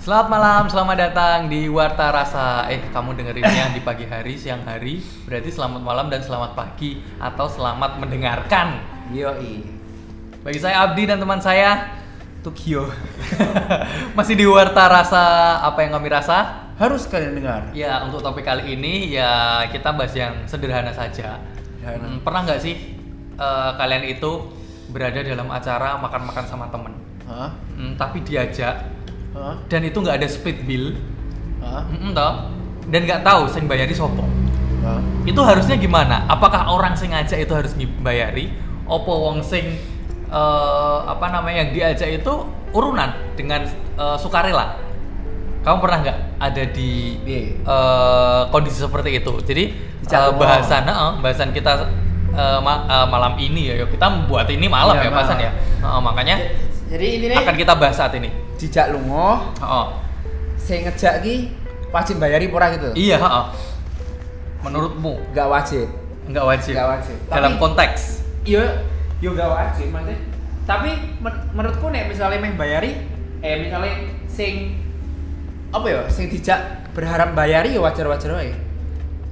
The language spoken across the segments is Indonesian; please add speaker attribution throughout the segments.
Speaker 1: Selamat malam, selamat datang di Warta Rasa. Eh, kamu dengerinnya di pagi hari, siang hari, berarti selamat malam dan selamat pagi atau selamat mendengarkan.
Speaker 2: Yoi.
Speaker 1: Bagi saya Abdi dan teman saya Tukio. Masih di Warta Rasa apa yang kami rasa?
Speaker 2: Harus kalian dengar.
Speaker 1: Ya, untuk topik kali ini ya kita bahas yang sederhana saja.
Speaker 2: Sederhana.
Speaker 1: Hmm, pernah nggak sih eh, kalian itu berada dalam acara makan-makan sama temen?
Speaker 2: Hah?
Speaker 1: Hmm, tapi diajak
Speaker 2: Hah?
Speaker 1: dan itu nggak ada split bill,
Speaker 2: Hah?
Speaker 1: Mm-mm, toh. dan nggak tahu sing bayari sopo.
Speaker 2: Hah?
Speaker 1: Itu harusnya gimana? Apakah orang sing ngajak itu harus dibayari? Opo wong sing eh, apa namanya yang diajak itu urunan dengan eh, sukarela? Kamu pernah nggak ada di
Speaker 2: Piye?
Speaker 1: eh, kondisi seperti itu. Jadi eh,
Speaker 2: Bicara
Speaker 1: bahasan eh, bahasan kita eh, ma- eh, malam ini ya, kita membuat ini malam
Speaker 2: Iya,
Speaker 1: ya bahasan
Speaker 2: malam.
Speaker 1: ya. Eh, makanya
Speaker 2: Jadi ini nih
Speaker 1: akan kita bahas saat ini.
Speaker 2: dijak lungo,
Speaker 1: Oh,
Speaker 2: saya ngejak ki wajib bayari pura gitu.
Speaker 1: iya. heeh. Menurutmu
Speaker 2: Nggak wajib.
Speaker 1: nggak wajib?
Speaker 2: Nggak wajib.
Speaker 1: Dalam
Speaker 2: Tapi-
Speaker 1: konteks?
Speaker 2: Iya, yo nggak wajib maksudnya. Tapi men- menurutku nek misalnya meh bayari, eh misalnya sing apa ya, sing dijak berharap bayari ya wajar-wajar wae.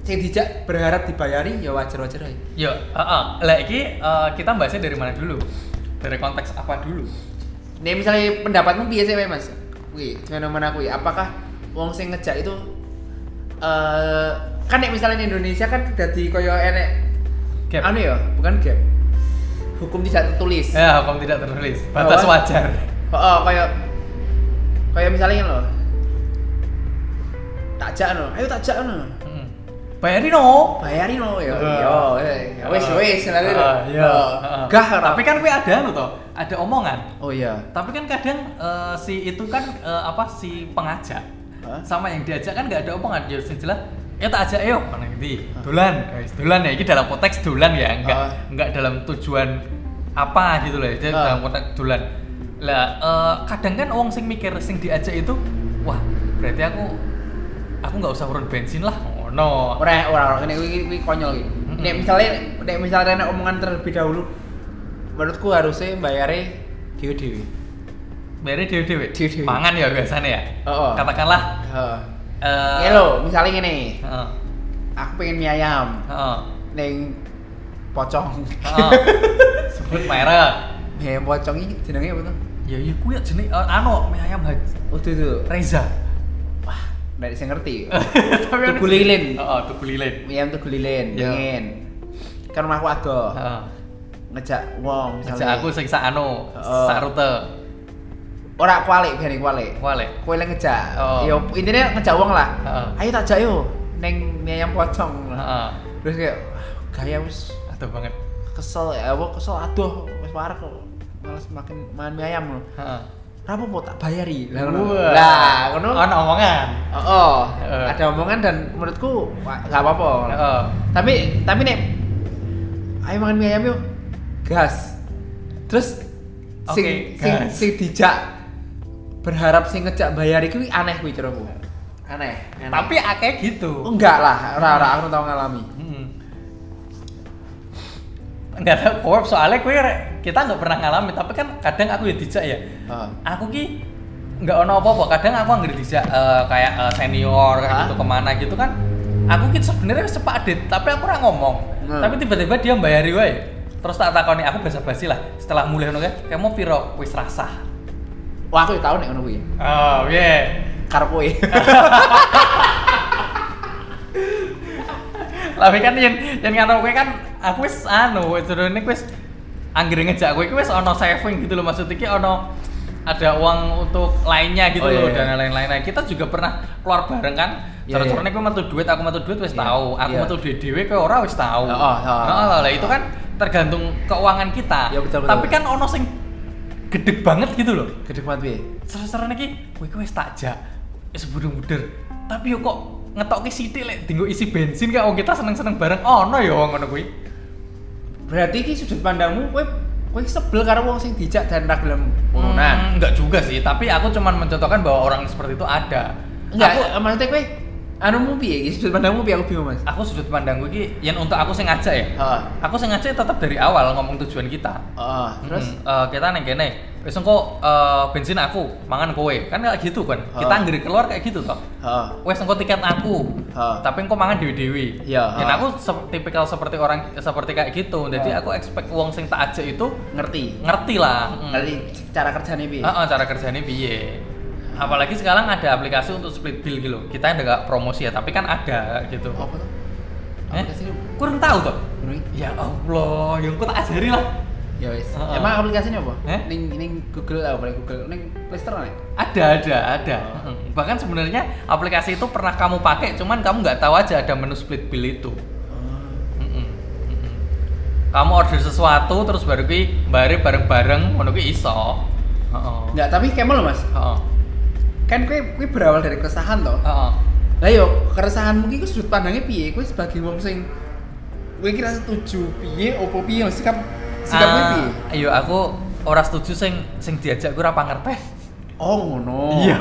Speaker 2: Sing dijak berharap dibayari ya wajar-wajar wae.
Speaker 1: Ya, heeh. Lah iki eh, kita bahasnya dari mana dulu? Dari konteks apa dulu?
Speaker 2: Nih misalnya pendapatmu piye sih Wei, Mas? Kuwi fenomena kuwi ya. apakah wong sing ngejak itu eh kan nek misalnya di Indonesia kan dadi koyo enek
Speaker 1: Gap.
Speaker 2: anu ya, bukan gap. Hukum tidak tertulis. Heeh,
Speaker 1: Ya, hukum tidak tertulis.
Speaker 2: Oh,
Speaker 1: Batas
Speaker 2: Bahwa-
Speaker 1: wajar.
Speaker 2: koyo koyo misalnya loh. Takjak no, ayo takjak no.
Speaker 1: Mm. Bayari no.
Speaker 2: Bayarin no ya.
Speaker 1: Eh.
Speaker 2: Yo, wis wis lalu.
Speaker 1: Ah, iya. Ah.
Speaker 2: Oh, Gah ora.
Speaker 1: Tapi kan kue ada lo toh, ada omongan.
Speaker 2: Oh iya.
Speaker 1: Tapi kan kadang eh, si itu kan eh, apa si pengajak
Speaker 2: Hah?
Speaker 1: sama yang diajak kan nggak ada omongan. Ya sing jelas ya tak ajak yuk mana nanti dolan guys dolan ya ini dalam konteks dolan ya enggak
Speaker 2: Ah.
Speaker 1: enggak dalam tujuan apa gitu loh jadi
Speaker 2: Ah.
Speaker 1: dalam konteks dolan lah eh, kadang kan orang sing mikir sing diajak itu wah berarti aku aku nggak usah urun bensin lah oh no
Speaker 2: ora ora ora kene kuwi kuwi konyol iki.
Speaker 1: Mm-mm.
Speaker 2: Nek misale nek misale nek omongan terlebih dahulu menurutku harusnya bayare dhewe dhewe.
Speaker 1: Bayarnya dewe-dewe?
Speaker 2: Dhewe-dhewe.
Speaker 1: Mangan ya biasanya ya?
Speaker 2: Oo.
Speaker 1: Katakanlah
Speaker 2: Heeh.
Speaker 1: eh
Speaker 2: Ngene Iya lho, misale ngene,
Speaker 1: Heeh.
Speaker 2: aku pengen mie ayam
Speaker 1: Heeh.
Speaker 2: ning pocong.
Speaker 1: Heeh. eh. Sebut merek.
Speaker 2: Mie ayam pocong iki jenenge apa to?
Speaker 1: Ya iya kuwi ya jenis eh, anu mie ayam Haji
Speaker 2: Udah itu.
Speaker 1: Reza.
Speaker 2: Nek sing ngerti.
Speaker 1: Tapi
Speaker 2: Tugu lilin.
Speaker 1: Heeh, tugu lilin.
Speaker 2: Mie ayam tuh lilin,
Speaker 1: Iya.
Speaker 2: pengen. Kan rumahku ada.
Speaker 1: Heeh.
Speaker 2: Ngejak wong
Speaker 1: Ngejak
Speaker 2: misalnya.
Speaker 1: aku sing sak anu,
Speaker 2: Oo.
Speaker 1: sak rute.
Speaker 2: ora kualik biar kualik.
Speaker 1: Kualik.
Speaker 2: Kowe lek ngejak.
Speaker 1: Oh.
Speaker 2: Yo intine ngejak wong lah.
Speaker 1: Heeh.
Speaker 2: Ayo takjak yo ning mie ayam pocong.
Speaker 1: Heeh.
Speaker 2: terus kayak "Ah, gaya wis
Speaker 1: Aduh banget.
Speaker 2: kesel ya aku kesel aduh wis parah kok males makan makan mie ayam lo
Speaker 1: Heeh.
Speaker 2: rapo mau tak bayari lah ngono
Speaker 1: Wah.
Speaker 2: lah ngono
Speaker 1: Ono omongan.
Speaker 2: oh, oh.
Speaker 1: Heeh.
Speaker 2: ada omongan dan menurutku wah, nggak apa-apa ngono.
Speaker 1: Heeh.
Speaker 2: tapi tapi nek ayo makan mie ayam yuk gas terus sing
Speaker 1: Oke,
Speaker 2: sing
Speaker 1: gas.
Speaker 2: sing dijak berharap sing ngejak bayari kuwi aneh kuwi ceraku aneh, aneh.
Speaker 1: Tapi akeh gitu.
Speaker 2: enggak lah ora ora aku tau ngalami
Speaker 1: Heeh. Enggak tahu kowe soalnya kowe kita nggak pernah ngalamin tapi kan kadang aku ya dijak ya.
Speaker 2: Heeh.
Speaker 1: Aku ki nggak ono apa-apa. Kadang aku anggere dijak eh, kayak eh, senior kayak
Speaker 2: Hah?
Speaker 1: gitu kemana gitu kan. Aku ki sebenarnya wis sepakdit tapi aku ora ngomong.
Speaker 2: Hmm.
Speaker 1: Tapi tiba-tiba dia mbayari wae. Terus tak takoni aku basa-basi lah. Setelah mulai ngono kae, kamu piro wis rasah.
Speaker 2: wah aku ya tau nek ngono kuwi
Speaker 1: Oh, yeah.
Speaker 2: karep kowe.
Speaker 1: Tapi kan yen yen ngono kowe kan aku wis anu jurune wis anggere ngejak kowe kuwi wis ana saving gitu loh maksud iki ana ada uang untuk lainnya gitu
Speaker 2: Oh, iya,
Speaker 1: loh
Speaker 2: iya.
Speaker 1: dan lain-lain. Nah, kita juga pernah keluar bareng kan.
Speaker 2: Iya,
Speaker 1: Yeah,
Speaker 2: iya.
Speaker 1: Cara-carane kowe metu duit, aku metu duit wis
Speaker 2: Iya,
Speaker 1: tahu. Aku
Speaker 2: iya.
Speaker 1: metu duit dhewe kowe ora wis tahu.
Speaker 2: Oh, oh, oh.
Speaker 1: Nah, lah, lah, itu kan tergantung keuangan kita.
Speaker 2: Iya, betul, betul.
Speaker 1: Tapi kan ono sing gede banget gitu loh.
Speaker 2: Gede banget piye?
Speaker 1: Seru-seruan iki kowe kowe wis takjak. Wis buder-buder. Tapi yo kok ngetokke sithik lek dinggo isi bensin kayak oh kita seneng-seneng bareng. Ono ya wong ngono kuwi.
Speaker 2: Berarti iki sudut pandangmu kowe kowe iki sebel karo wong sing dijak dan ra gelem urunan.
Speaker 1: enggak Hmm, juga sih, tapi aku cuman mencontohkan bahwa orang seperti itu ada.
Speaker 2: Enggak,
Speaker 1: Aku
Speaker 2: eh, maksudnya kowe anumu piye iki? Sudut pandangmu piye aku bingung, Mas.
Speaker 1: aku sudut pandang gue iki yang untuk aku sengaja ya.
Speaker 2: Heeh.
Speaker 1: Aku sengaja tetap dari awal ngomong tujuan kita.
Speaker 2: Heeh, oh, terus
Speaker 1: Mm-mm. Eh, kita neng kene, "Weh, wis engko eh, bensin aku, mangan kowe. Kan kayak gitu kan. Kita
Speaker 2: Ha.
Speaker 1: anggere keluar kayak gitu toh.
Speaker 2: Heeh.
Speaker 1: Wes engko tiket aku.
Speaker 2: Ha.
Speaker 1: Tapi engko mangan dewi-dewi.
Speaker 2: Ya,
Speaker 1: Dan
Speaker 2: ha.
Speaker 1: aku se- tipikal seperti orang seperti kayak gitu. Jadi
Speaker 2: Ya.
Speaker 1: aku expect wong sing tak ajak itu
Speaker 2: ngerti.
Speaker 1: ngerti lah. Mm.
Speaker 2: Ngerti cara kerjane piye?
Speaker 1: Heeh, cara kerjanya piye. Apalagi sekarang ada aplikasi untuk split bill gitu. Kita enggak promosi ya, tapi kan ada gitu.
Speaker 2: Apa tuh?
Speaker 1: Eh?
Speaker 2: Aplikasi ini
Speaker 1: Kurang tahu toh?
Speaker 2: Nui?
Speaker 1: Ya Allah, yang ku tak ajari lah.
Speaker 2: Ya wis.
Speaker 1: Heeh.
Speaker 2: Emang aplikasi ini apa?
Speaker 1: Eh?
Speaker 2: Ning ning Google apa boleh Google ning Play Store nih.
Speaker 1: Ada, ada, ada.
Speaker 2: Oh.
Speaker 1: Mm. Bahkan sebenarnya aplikasi itu pernah kamu pakai, cuman kamu nggak tahu aja ada menu split bill itu. Mm-mm. Mm-mm. Kamu order sesuatu terus baru ki bare bareng-bareng ngono ki iso. Heeh.
Speaker 2: Enggak, tapi kayak lo Mas.
Speaker 1: Heeh.
Speaker 2: Kan kue kue berawal dari keresahan toh.
Speaker 1: Heeh.
Speaker 2: Lah yo, keresahan mungkin kue sudut pandangnya piye? Kue sebagai wong sing kue kira setuju piye opo piye sikap sikap kue
Speaker 1: Ah,
Speaker 2: piye?
Speaker 1: Ayo aku ora setuju sing sing diajak gue apa ngertes.
Speaker 2: Oh ngono.
Speaker 1: Iya.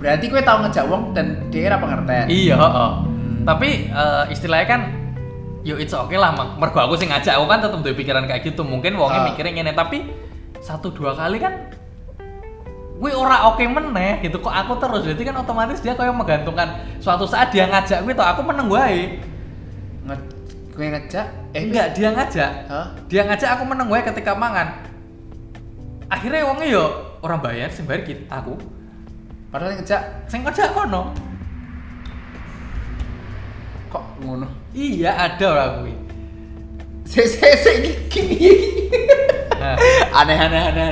Speaker 2: Berarti kue tau ngejak wong dan dia apa ngerten?
Speaker 1: Iya, heeh. Tapi eh, istilahnya kan yo it's okay lah Mak. mergo aku sing ngajak aku kan tetep duwe pikiran kayak gitu. Mungkin wongnya
Speaker 2: Ah.
Speaker 1: mikirnya ngene tapi satu dua kali kan gue ora oke meneh gitu kok aku terus berarti kan otomatis dia kayak menggantungkan suatu saat dia ngajak gue tau aku meneng wae
Speaker 2: Nge kue ngejak? Eh
Speaker 1: enggak dia ngajak
Speaker 2: Hah?
Speaker 1: dia ngajak aku meneng wae ketika mangan akhirnya wongnya yo orang bayar sing bayar kita aku
Speaker 2: Padahal ngejak
Speaker 1: sing ngajak kono
Speaker 2: kok ngono?
Speaker 1: iya ada orang gue
Speaker 2: Se se se gini.
Speaker 1: nah,
Speaker 2: aneh aneh aneh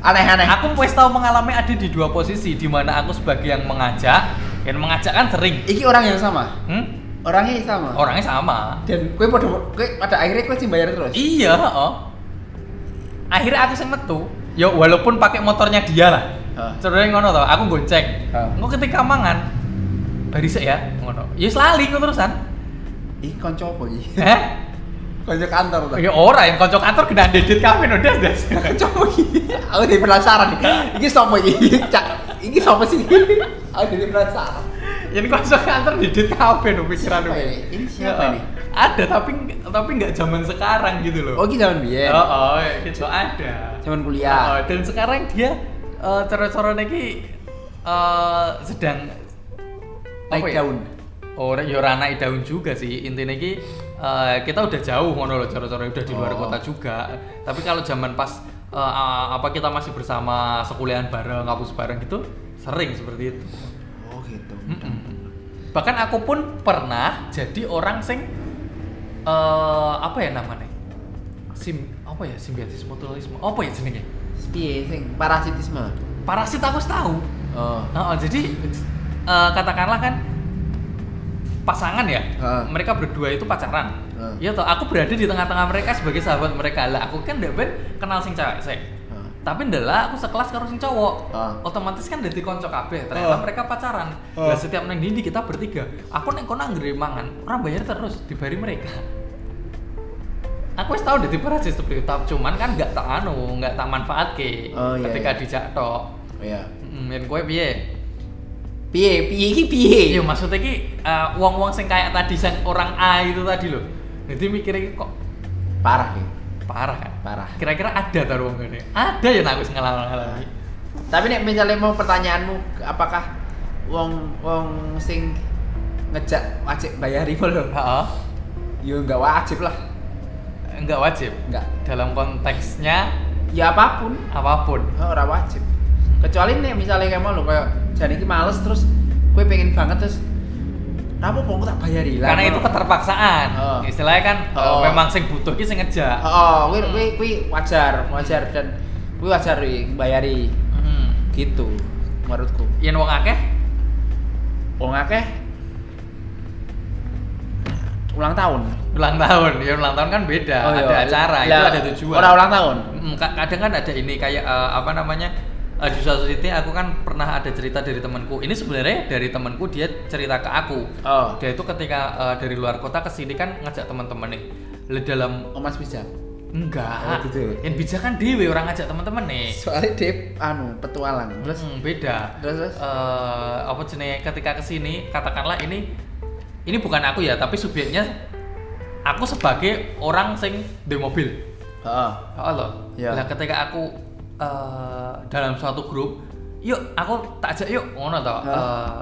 Speaker 2: aneh aneh aneh.
Speaker 1: aku wis tau mengalami ada di dua posisi di mana aku sebagai yang mengajak yang mengajak kan sering
Speaker 2: Iki orang yang sama.
Speaker 1: hmm?
Speaker 2: Orangnya sama.
Speaker 1: orangnya sama
Speaker 2: Dan kue pada kue pada akhirnya kue sih bayar terus.
Speaker 1: iya oh akhirnya aku sing metu ya walaupun pakai motornya dia lah
Speaker 2: Hah.
Speaker 1: sebenarnya ngono tau aku gonceng
Speaker 2: Hah.
Speaker 1: Engko ketika mangan barisik ya ngono ya selali ngono terusan
Speaker 2: Ih konco apa iki?
Speaker 1: eh
Speaker 2: Konco kantor tuh.
Speaker 1: ya ora yang kocok kantor kena dedit kami no das das
Speaker 2: Konco apa iki? Aku jadi penasaran nih. Iki siapa iki? Cak, iki siapa sih? Aku jadi penasaran.
Speaker 1: yang kocok kantor dedit kami no pikiran
Speaker 2: Siapa
Speaker 1: lu.
Speaker 2: ini? Ini siapa
Speaker 1: Ya,
Speaker 2: nih?
Speaker 1: ada tapi tapi nggak zaman sekarang gitu loh
Speaker 2: Oh, iki zaman biyen.
Speaker 1: Oh, oh, itu ada.
Speaker 2: Zaman
Speaker 1: Oh,
Speaker 2: kuliah.
Speaker 1: dan sekarang dia eh cara-cara lagi eh sedang
Speaker 2: Naik daun.
Speaker 1: Oh, ya ora naik daun juga sih. Intinya iki eh, kita udah jauh ngono loh cara-cara udah di luar
Speaker 2: Oh.
Speaker 1: kota juga. Tapi kalau zaman pas eh, a- apa kita masih bersama sekuliahan bareng, ngapus bareng gitu, sering seperti itu.
Speaker 2: Oh, gitu.
Speaker 1: Mm-mm. Bahkan aku pun pernah jadi orang sing eh apa ya namanya? Sim apa ya simbiosis mutualisme? Apa ya jenenge?
Speaker 2: Piye sing parasitisme?
Speaker 1: Parasit aku wis tahu.
Speaker 2: Oh.
Speaker 1: Oh, oh, jadi eh, katakanlah kan pasangan ya.
Speaker 2: Heeh.
Speaker 1: Mereka berdua itu pacaran.
Speaker 2: Heeh.
Speaker 1: Iya toh, aku berada di tengah-tengah mereka sebagai sahabat mereka. Lah aku kan ndek ben kenal sing cewek sik.
Speaker 2: Heeh.
Speaker 1: Tapi ndela aku sekelas karo sing cowok.
Speaker 2: Heeh.
Speaker 1: Otomatis kan dadi kanca kabeh. Ternyata
Speaker 2: Heeh.
Speaker 1: mereka pacaran.
Speaker 2: Heeh.
Speaker 1: Lah setiap nang dindi kita bertiga. Aku neng kono anggere mangan, ora bayar terus dibari mereka. Aku wis tau dadi parasit seperti itu, cuman kan nggak tak anu, nggak tak manfaatke
Speaker 2: Oh, iya,
Speaker 1: ketika
Speaker 2: iya.
Speaker 1: dijak tok.
Speaker 2: Oh, iya.
Speaker 1: Mm, yen kowe piye?
Speaker 2: Piye? Piye iki piye?
Speaker 1: Iya maksudnya ki eh, wong-wong sing kayak tadi sing orang A itu tadi loh. Jadi mikirnya ki kok
Speaker 2: Parah iki.
Speaker 1: parah kan?
Speaker 2: Parah.
Speaker 1: Kira-kira ada taruh wong gini? Ada ya aku ngalami-ngalami.
Speaker 2: Tapi nek misalnya mau pertanyaanmu, apakah wong wong sing ngejak wajib bayari apa lho?
Speaker 1: Heeh.
Speaker 2: Yo enggak wajib lah.
Speaker 1: Enggak wajib.
Speaker 2: Enggak.
Speaker 1: Dalam konteksnya
Speaker 2: Ya apapun,
Speaker 1: apapun.
Speaker 2: oh, ora wajib. Kecuali nek misalnya kayak mau lho kayak jan iki males terus kowe pengen banget terus apa mau tak bayari lah.
Speaker 1: Karena itu keterpaksaan.
Speaker 2: Heeh.
Speaker 1: Istilahnya kan eh,
Speaker 2: Heeh.
Speaker 1: memang sing butuh ki sing ngejak.
Speaker 2: Heeh, kuwi kuwi kuwi wajar, wajar dan kuwi wajar kuwi bayari
Speaker 1: Hmm.
Speaker 2: gitu menurutku.
Speaker 1: Yen wong akeh
Speaker 2: Wong akeh ulang tahun.
Speaker 1: ulang tahun, ya ulang tahun kan beda.
Speaker 2: Oh, iya.
Speaker 1: ada acara, itu
Speaker 2: Lah,
Speaker 1: ada tujuan.
Speaker 2: Ora ulang tahun.
Speaker 1: Mm, ka- kadang kan ada ini kayak eh, apa namanya eh, di suatu titik aku kan pernah ada cerita dari temanku ini sebenarnya dari temanku dia cerita ke aku
Speaker 2: Oh.
Speaker 1: dia itu ketika eh, dari luar kota ke sini kan ngajak teman-teman nih le dalam
Speaker 2: Oh Mas Bija. Oh,
Speaker 1: enggak
Speaker 2: gitu ya?
Speaker 1: yang bijak kan dewe orang ngajak teman-teman nih
Speaker 2: Soalnya Dep anu petualang. Terus
Speaker 1: Mm, beda
Speaker 2: terus terus.
Speaker 1: eh apa jenenge ketika kesini katakanlah ini ini bukan aku ya tapi subjeknya aku sebagai orang sing di mobil
Speaker 2: Heeh.
Speaker 1: Allah.
Speaker 2: Ya.
Speaker 1: Lah Oh, ketika aku eh, dalam suatu grup, yuk aku tak ajak yuk ngono tau.
Speaker 2: Hah?
Speaker 1: Eh,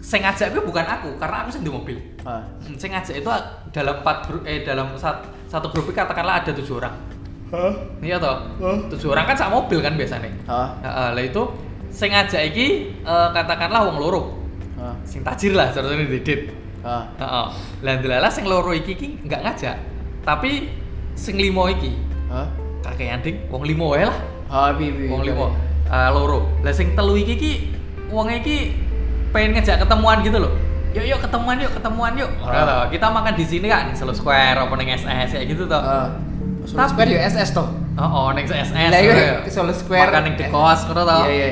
Speaker 1: sing ngajak itu bukan aku karena aku sing di mobil.
Speaker 2: Ah.
Speaker 1: Hmm, Sing ngajak itu dalam empat grup eh dalam sat- satu grup itu katakanlah ada tujuh orang.
Speaker 2: Hah?
Speaker 1: Iya toh.
Speaker 2: Hah?
Speaker 1: Tujuh orang kan sak mobil kan biasanya.
Speaker 2: Hah?
Speaker 1: Heeh, lah itu sing ngajak iki eh, katakanlah wong loro.
Speaker 2: Hah?
Speaker 1: Sing tajir lah contohnya didit.
Speaker 2: Hah?
Speaker 1: Heeh. Lah ndelalah sing loro iki iki enggak ngajak. Tapi sing limo iki
Speaker 2: Hah?
Speaker 1: kakek anding wong limo wae lah.
Speaker 2: Hah? Bi, bi,
Speaker 1: Wong
Speaker 2: bi.
Speaker 1: limo eh, loro. Lah sing telu iki iki wong iki pengen ngejak ketemuan gitu loh. Yuk yuk ketemuan yuk ketemuan yuk. Ora
Speaker 2: Ah.
Speaker 1: toh, kita makan di sini kan Solo Square apa neng SS kayak gitu toh.
Speaker 2: Ah. Solo
Speaker 1: Tapi-
Speaker 2: Square yo SS toh.
Speaker 1: Oh, oh neng SS.
Speaker 2: Lah iya,
Speaker 1: ya.
Speaker 2: Solo Square.
Speaker 1: Makan neng di kos, kau tau?
Speaker 2: Iya, iya.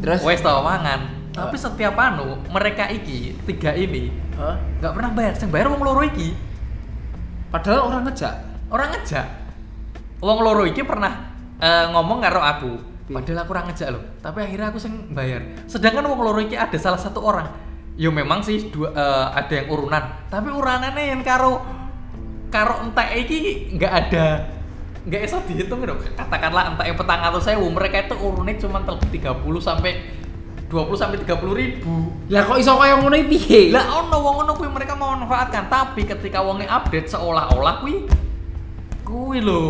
Speaker 2: Terus?
Speaker 1: Wes tau mangan.
Speaker 2: Ah.
Speaker 1: Tapi setiap anu mereka iki tiga ini
Speaker 2: Hah?
Speaker 1: nggak pernah bayar. Yang bayar wong loro iki.
Speaker 2: Padahal orang ngejak.
Speaker 1: Orang ngejak. Wong loro iki pernah eh, ngomong karo aku.
Speaker 2: Iya.
Speaker 1: Padahal aku orang ngejak loh. Tapi akhirnya aku sing bayar. Sedangkan wong loro iki ada salah satu orang. Yo memang sih dua, eh, ada yang urunan. Tapi urunannya yang karo karo entek iki nggak ada nggak bisa dihitung dong katakanlah entek petang atau saya mereka itu urunnya cuma tel 30 sampai 20 sampai 30 ribu
Speaker 2: Lah kok iso kaya ngono iki piye?
Speaker 1: lah ono wong ono kuwi mereka mau manfaatkan tapi ketika wonge update seolah-olah kuwi kuwi lho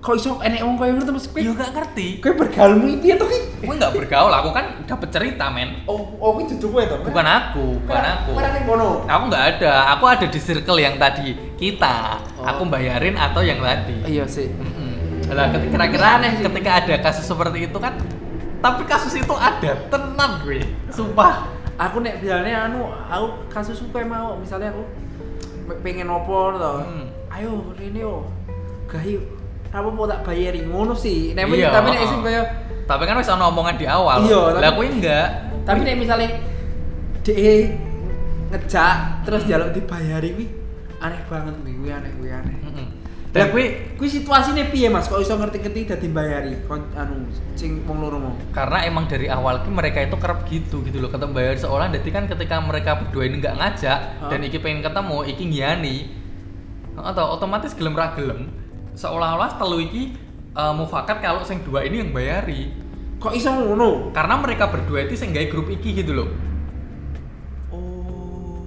Speaker 2: kok iso enek wong kaya ngono terus kowe
Speaker 1: yo gak ngerti
Speaker 2: kowe bergaulmu iki piye to ki?
Speaker 1: kuwi nggak bergaul aku kan dapet cerita men
Speaker 2: Oh, oh kuwi dudu kowe to.
Speaker 1: bukan aku bukan aku
Speaker 2: Ora ning kono.
Speaker 1: aku nggak ada aku ada di circle yang tadi kita
Speaker 2: Oh.
Speaker 1: aku bayarin atau yang tadi
Speaker 2: Iya sih.
Speaker 1: Mm-mm. Lah ketika kira-kira aneh sih. ketika ada kasus seperti itu kan tapi kasus itu ada tenang gue sumpah
Speaker 2: Aku nek biasanya anu, aku kasus suka mau misalnya aku pe- pengen opo to.
Speaker 1: Hmm.
Speaker 2: Ayo rene yo. Gahi rapo tak bayari ngono sih. Nek
Speaker 1: Iya,
Speaker 2: tapi nek
Speaker 1: heeh.
Speaker 2: sing kaya
Speaker 1: tapi kan wis ono omongan di awal
Speaker 2: Iya, tapi-
Speaker 1: lah kuwi enggak
Speaker 2: tapi nek misalnya de ngejak
Speaker 1: Hmm.
Speaker 2: terus jaluk dibayari kuwi aneh banget kuwi kuwi aneh kuwi aneh.
Speaker 1: Mm-mm. Hmm.
Speaker 2: Dan
Speaker 1: dan kuwi
Speaker 2: kuwi situasine piye Mas? Kok iso ngerti-ngerti dadi bayari kon anu sing wong loro mau.
Speaker 1: karena emang dari awal ki mereka itu kerap gitu gitu loh ketemu bayar seolah jadi kan ketika mereka berdua ini nggak ngajak
Speaker 2: Hah?
Speaker 1: dan iki pengen ketemu iki ngiani atau otomatis gelem ra gelem seolah-olah telu iki eh, mufakat kalau sing dua ini yang bayari
Speaker 2: Kok iso ngono?
Speaker 1: karena mereka berdua itu sing gawe grup iki gitu loh
Speaker 2: Oh.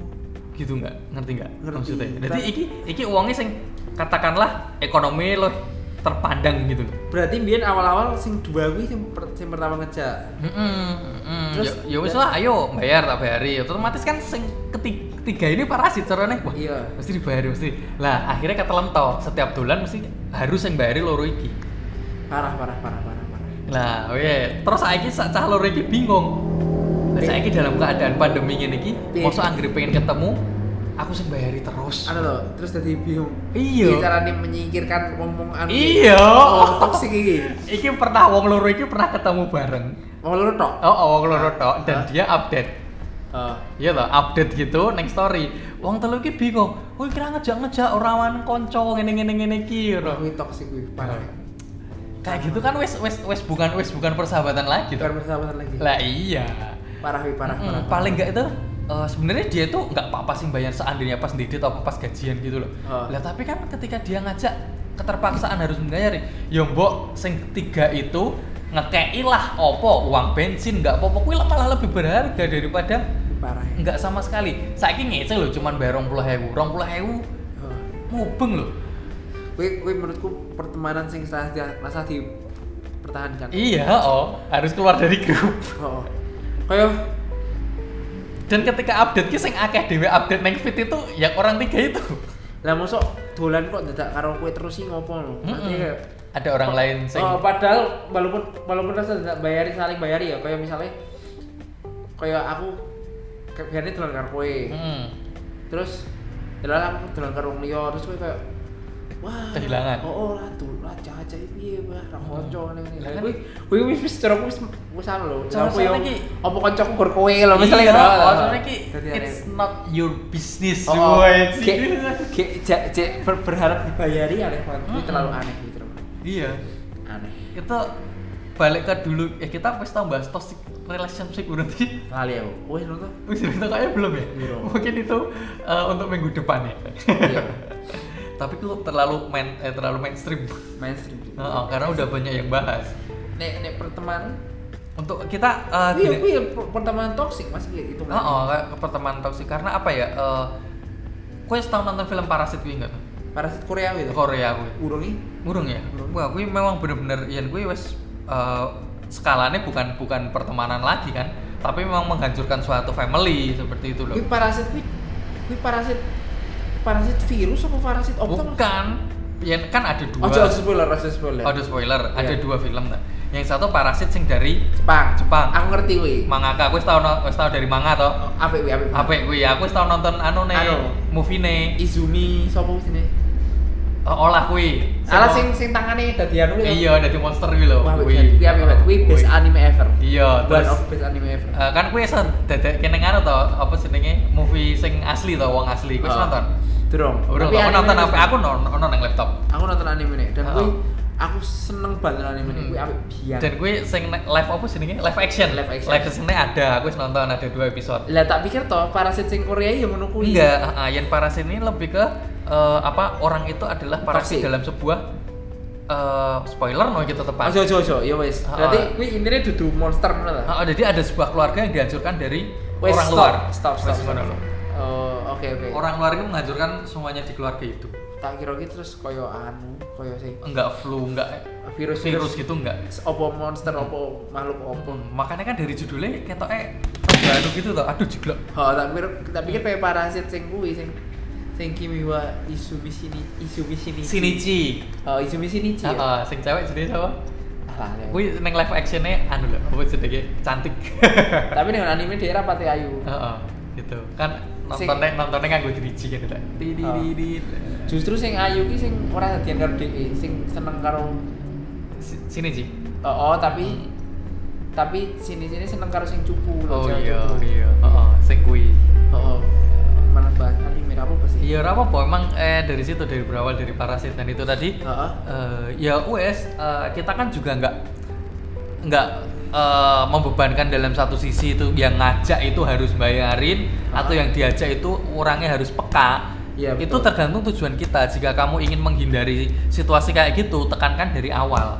Speaker 1: gitu nggak ngerti nggak
Speaker 2: Ngerti.
Speaker 1: maksudnya jadi iki iki uangnya sing katakanlah ekonomi lo terpandang gitu loh
Speaker 2: Berarti biyen awal-awal sing dua kuwi sing, per- sing pertama ngejak. Terus-
Speaker 1: Terus, ya wis lah, ayo bayar tak bayari. Otomatis kan sing ketiga, ketiga ini parasit caranya. Wah,
Speaker 2: Iya.
Speaker 1: mesti dibayari mesti. Lah, akhirnya ketelan tau setiap bulan mesti harus yang bayari loro iki.
Speaker 2: Parah parah parah parah parah.
Speaker 1: Lah, oke. Terus saiki sak cah loro iki bingung. Lah saiki dalam keadaan pandemi ngene iki,
Speaker 2: Iya.
Speaker 1: mosok anggere pengen ketemu, aku sing bayari terus.
Speaker 2: Anu loh, terus jadi bingung.
Speaker 1: Iya.
Speaker 2: Piye carane menyingkirkan omong anu.
Speaker 1: Iya.
Speaker 2: Oh, toksik iki.
Speaker 1: Iki pernah wong loro iki pernah ketemu bareng.
Speaker 2: Wong loro tok.
Speaker 1: Oh, oh wong loro tok
Speaker 2: Hah?
Speaker 1: dan dia update.
Speaker 2: Heeh.
Speaker 1: Iya lah, update gitu neng story. Wong telu iki bingung. Woi kira ngejak-ngejak ora wan kanca ngene-ngene ngene iki
Speaker 2: Wah,
Speaker 1: ngono.
Speaker 2: Kuwi toksik kuwi parah.
Speaker 1: Kayak gitu kan wes wes wes bukan wes bukan persahabatan lagi
Speaker 2: Kita
Speaker 1: tuh.
Speaker 2: bersama lagi.
Speaker 1: Lah iya.
Speaker 2: Parah kuwi parah
Speaker 1: Mm,
Speaker 2: parah.
Speaker 1: paling enggak itu eh, sebenarnya dia tuh nggak apa-apa sih bayar seandainya pas didit atau pas gajian gitu loh.
Speaker 2: Ah.
Speaker 1: Lah tapi kan ketika dia ngajak keterpaksaan harus membayar. Ya mbok sing ketiga itu ngekei lah opo uang bensin nggak apa-apa kuwi malah lebih berharga daripada
Speaker 2: parah. ya.
Speaker 1: Enggak sama sekali. Saiki ngece lho cuman bayar 20.000. 20.000
Speaker 2: Heeh.
Speaker 1: mubeng lho.
Speaker 2: Kuwi kuwi Oh. menurutku pertemanan sing salah dia- masa dipertahankan.
Speaker 1: Iya, oh, harus keluar dari grup.
Speaker 2: Heeh. Kayak
Speaker 1: Dan ketika update ki sing akeh dhewe update neng feed itu yang orang tiga itu.
Speaker 2: lah mosok dolan kok dadak karo kowe terus sih ngopo lho. Nanti
Speaker 1: Mm-mm.
Speaker 2: kayak
Speaker 1: Ada orang lain sing
Speaker 2: Oh, padahal walaupun walaupun rasa tidak bayari saling bayari ya kayak misalnya kayak aku kebiarin dolan karo kowe
Speaker 1: Mm.
Speaker 2: terus dalam aku dolan karo wong liya terus kowe kayak wah
Speaker 1: Kehilangan. Hmm.
Speaker 2: oh oh lah tuh lah caca piye wah ra kanca ngene
Speaker 1: Lah
Speaker 2: ngene
Speaker 1: kan-
Speaker 2: kuwi kuwi wis wis cara wis wis anu lho
Speaker 1: Cara
Speaker 2: apa yo
Speaker 1: soalnya ki-
Speaker 2: apa kancaku gor kowe lho misalnya
Speaker 1: Iya,
Speaker 2: gitu.
Speaker 1: oh, soalnya ki
Speaker 2: Jadi
Speaker 1: it's
Speaker 2: aneh.
Speaker 1: not your business.
Speaker 2: Oh, oh.
Speaker 1: woy.
Speaker 2: Ki- ki- ja- ja- ber- berharap dibayari aneh banget Kuwi
Speaker 1: Mm-mm.
Speaker 2: terlalu aneh kuwi terlalu
Speaker 1: Iya.
Speaker 2: aneh
Speaker 1: Itu balik ke dulu ya kita wis tambah toxic relationship berarti.
Speaker 2: lali aku wis lho tuh
Speaker 1: Wis itu kayaknya belum ya?
Speaker 2: Belum.
Speaker 1: Mungkin itu eh, untuk minggu depan ya.
Speaker 2: Iya.
Speaker 1: Tapi itu terlalu main eh, terlalu mainstream.
Speaker 2: mainstream gitu.
Speaker 1: Heeh, karena udah banyak yang bahas.
Speaker 2: nek nek pertemanan
Speaker 1: Untuk kita eh,
Speaker 2: iya
Speaker 1: gini-
Speaker 2: iya per- pertemanan toksik mas iya itu
Speaker 1: Oh, oh, kayak ke pertemanan toksik karena apa ya? Eh kue setahun nonton film Parasit gue enggak?
Speaker 2: parasit Korea gitu
Speaker 1: Korea gue.
Speaker 2: urung nih
Speaker 1: Murung ya? Wah, gue memang bener-bener yang gue wes eh skalanya bukan bukan pertemanan lagi kan, tapi memang menghancurkan suatu family seperti itu loh.
Speaker 2: Kui parasit kui kui parasit parasit virus apa parasit apa tuh?
Speaker 1: Bukan, yang kan ada dua.
Speaker 2: Ojo ojo spoiler, ojo spoiler.
Speaker 1: Ada spoiler, ada
Speaker 2: Iya.
Speaker 1: dua film nah. Yang satu Parasit sing dari
Speaker 2: Jepang.
Speaker 1: Jepang.
Speaker 2: Aku ngerti kuwi.
Speaker 1: mangaka. Gue setahun gue setahun dari manga toh.
Speaker 2: Apik kuwi, apik.
Speaker 1: Apa gue ya? Aku setahun nonton anu nih,
Speaker 2: Anu.
Speaker 1: movie nih,
Speaker 2: Izumi sapa kuwi sini?
Speaker 1: Eh, olah gue.
Speaker 2: Salah sing sing tangane dadi anu kuwi.
Speaker 1: Iya, dari monster gitu loh.
Speaker 2: Wah,
Speaker 1: Kui.
Speaker 2: kuwi apik banget. Kuwi
Speaker 1: Kui.
Speaker 2: best anime ever.
Speaker 1: Iya,
Speaker 2: One
Speaker 1: terus
Speaker 2: of best anime ever.
Speaker 1: eh, kan kuwi iso dadek kene ngono to, apa jenenge? Movie sing asli to, wong asli. Kuwi
Speaker 2: Ah.
Speaker 1: nonton.
Speaker 2: Durung.
Speaker 1: Bro,
Speaker 2: Tapi
Speaker 1: aku
Speaker 2: anime
Speaker 1: nonton
Speaker 2: ini-
Speaker 1: apa? Aku nonton nonton nang laptop.
Speaker 2: Aku nonton anime ini dan
Speaker 1: Oh.
Speaker 2: kuwi aku seneng banget anime ini.
Speaker 1: Hmm.
Speaker 2: Kuwi apik biyen.
Speaker 1: Dan kuwi sing ne- live apa jenenge? Live action.
Speaker 2: Iya. Live action.
Speaker 1: Live action-nya ada, aku wis nonton ada dua episode.
Speaker 2: Lah tak pikir toh parasit sing Korea ya ngono kuwi.
Speaker 1: Enggak, ah, ah, yang parasit ini lebih ke eh, apa orang itu adalah parasit
Speaker 2: Toxic.
Speaker 1: dalam sebuah eh, spoiler no gitu tepat.
Speaker 2: Ojo ojo ojo, ya wis.
Speaker 1: Ah.
Speaker 2: Berarti kuwi intine dudu monster ngono ta?
Speaker 1: Ah, ah, jadi ada sebuah keluarga yang dihancurkan dari
Speaker 2: Wes,
Speaker 1: orang
Speaker 2: stop,
Speaker 1: luar.
Speaker 2: Stop, stop,
Speaker 1: Wes,
Speaker 2: stop.
Speaker 1: ngono loh.
Speaker 2: Oh, oke oke.
Speaker 1: Orang luar itu menghancurkan semuanya di keluarga itu.
Speaker 2: tak kira gitu terus koyo anu, koyo sing
Speaker 1: Enggak flu, enggak virus,
Speaker 2: virus
Speaker 1: virus gitu enggak.
Speaker 2: Opo monster, opo makhluk opo.
Speaker 1: Hmm, Makanya kan dari judulnya ketoknya baru gitu toh. Aduh jiglok.
Speaker 2: Oh, tak pikir tak pikir kayak parasit sing kuwi sing sing Kimiwa Izumi sini Izumi sini.
Speaker 1: Shinichi.
Speaker 2: Oh, Izumi sini
Speaker 1: Heeh, sing cewek jenenge sapa?
Speaker 2: Alah.
Speaker 1: Iya. Kuwi
Speaker 2: Kuwi.
Speaker 1: neng live actionnya anu lho, apa jenenge? Cantik.
Speaker 2: Tapi dengan anime dia rapati ayu.
Speaker 1: Heeh, gitu. Kan
Speaker 2: Sing-
Speaker 1: nontonnya nontonnya nganggo diriji gitu Ah. lho. Di di di di.
Speaker 2: Justru sing ayu ki sing ora dadian karo DE, E, sing seneng karo
Speaker 1: Si- Shinichi.
Speaker 2: oh, oh, tapi tapi sini-sini seneng karo sing cupu lho,
Speaker 1: Oh
Speaker 2: cewek
Speaker 1: iya,
Speaker 2: cupu.
Speaker 1: iya. Heeh, sing kuwi.
Speaker 2: Oh, oh. Mana bahas anime apa apa sih?
Speaker 1: Iya, ora apa-apa. Emang eh, dari situ dari berawal dari parasit dan itu tadi
Speaker 2: Heeh.
Speaker 1: eh, ya US eh, kita kan juga nggak nggak eh, membebankan dalam satu sisi itu yang ngajak itu harus bayarin
Speaker 2: Ah.
Speaker 1: atau yang diajak itu orangnya harus peka.
Speaker 2: Iya,
Speaker 1: itu
Speaker 2: betul.
Speaker 1: tergantung tujuan kita. Jika kamu ingin menghindari situasi kayak gitu, tekankan dari awal.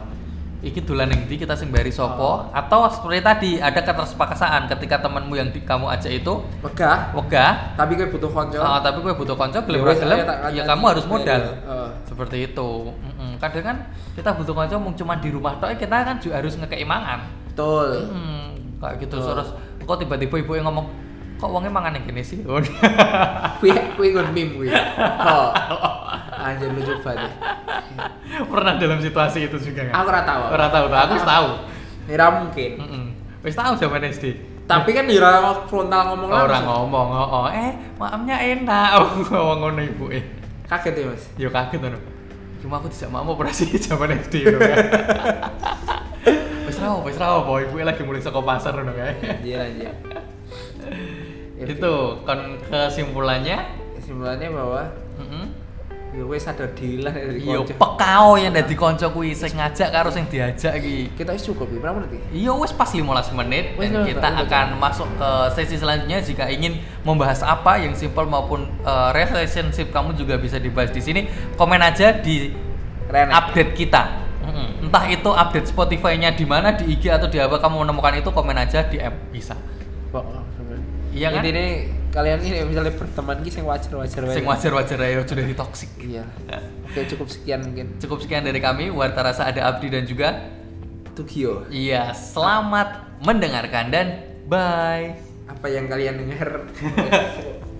Speaker 1: Iki dolan yang di kita sing bayari sopo atau seperti tadi ada ketersepakatan ketika temanmu yang di, kamu ajak itu
Speaker 2: Megah,
Speaker 1: wegah
Speaker 2: tapi gue butuh konco.
Speaker 1: Ah, tapi gue butuh konco, gelem
Speaker 2: Ya
Speaker 1: ora
Speaker 2: wes,
Speaker 1: gelem,
Speaker 2: ayo tak ya. Oh, kancani.
Speaker 1: ya kamu harus modal.
Speaker 2: Heeh.
Speaker 1: Seperti itu. Mm-mm. Kadang kan kita butuh konco mung cuma di rumah tok kita kan juga harus ngekei mangan.
Speaker 2: Betul.
Speaker 1: Mm, kayak gitu
Speaker 2: Betul.
Speaker 1: terus kok tiba-tiba ibu yang ngomong kok uangnya mangan yang gini sih
Speaker 2: Kuwi kuwi gue meme kuwi. Oh. Anjir lucu banget.
Speaker 1: pernah dalam situasi itu juga nggak?
Speaker 2: Aku ora tahu.
Speaker 1: Ora tahu tuh, aku
Speaker 2: Ora
Speaker 1: tahu
Speaker 2: Ora mungkin.
Speaker 1: Mm-mm. wis tahu zaman SD
Speaker 2: Tapi kan ya ora frontal ngomong
Speaker 1: orang
Speaker 2: langsung.
Speaker 1: ngomong oh, oh, eh maamnya enak oh ngomong ngono ibu eh
Speaker 2: Kaget ya, Mas.
Speaker 1: Yo kaget kan. Cuma aku tidak mau operasi zaman SD ngono kan. Wis ra apa, wis ra apa, ibu lagi mulai saka pasar ngono kae.
Speaker 2: Anjir anjir. Ya,
Speaker 1: Itu kon kesimpulannya,
Speaker 2: kesimpulannya bahwa
Speaker 1: heeh.
Speaker 2: ya wes sadar diri lah dari
Speaker 1: Yo
Speaker 2: konco.
Speaker 1: Iya, pekao yang dadi kanca kuwi sing ngajak karo sing diajak iki.
Speaker 2: Kita wis cukup, ya, berapa menit? ya?
Speaker 1: Iya wes pas 15 menit
Speaker 2: Wes,
Speaker 1: dan
Speaker 2: wes,
Speaker 1: kita
Speaker 2: wes, wes.
Speaker 1: akan masuk ke sesi selanjutnya jika ingin membahas apa yang simple maupun eh, relationship kamu juga bisa dibahas di sini. Komen aja di
Speaker 2: Keren. ya?
Speaker 1: update kita. Mm-mm. Entah itu update Spotify-nya di mana, di IG atau di apa kamu menemukan itu komen aja di app bisa.
Speaker 2: Bohong, bener.
Speaker 1: Iya kan?
Speaker 2: oh, Intinya kalian ini misalnya berteman ki sing wajar-wajar
Speaker 1: Sing Ya.
Speaker 2: wajar.
Speaker 1: wajar-wajar aja sudah ditoksik.
Speaker 2: Iya. Oke, cukup sekian mungkin.
Speaker 1: Cukup sekian dari kami. Warta rasa ada Abdi dan juga
Speaker 2: Tokyo.
Speaker 1: iya, selamat mendengarkan dan bye.
Speaker 2: Apa yang kalian dengar?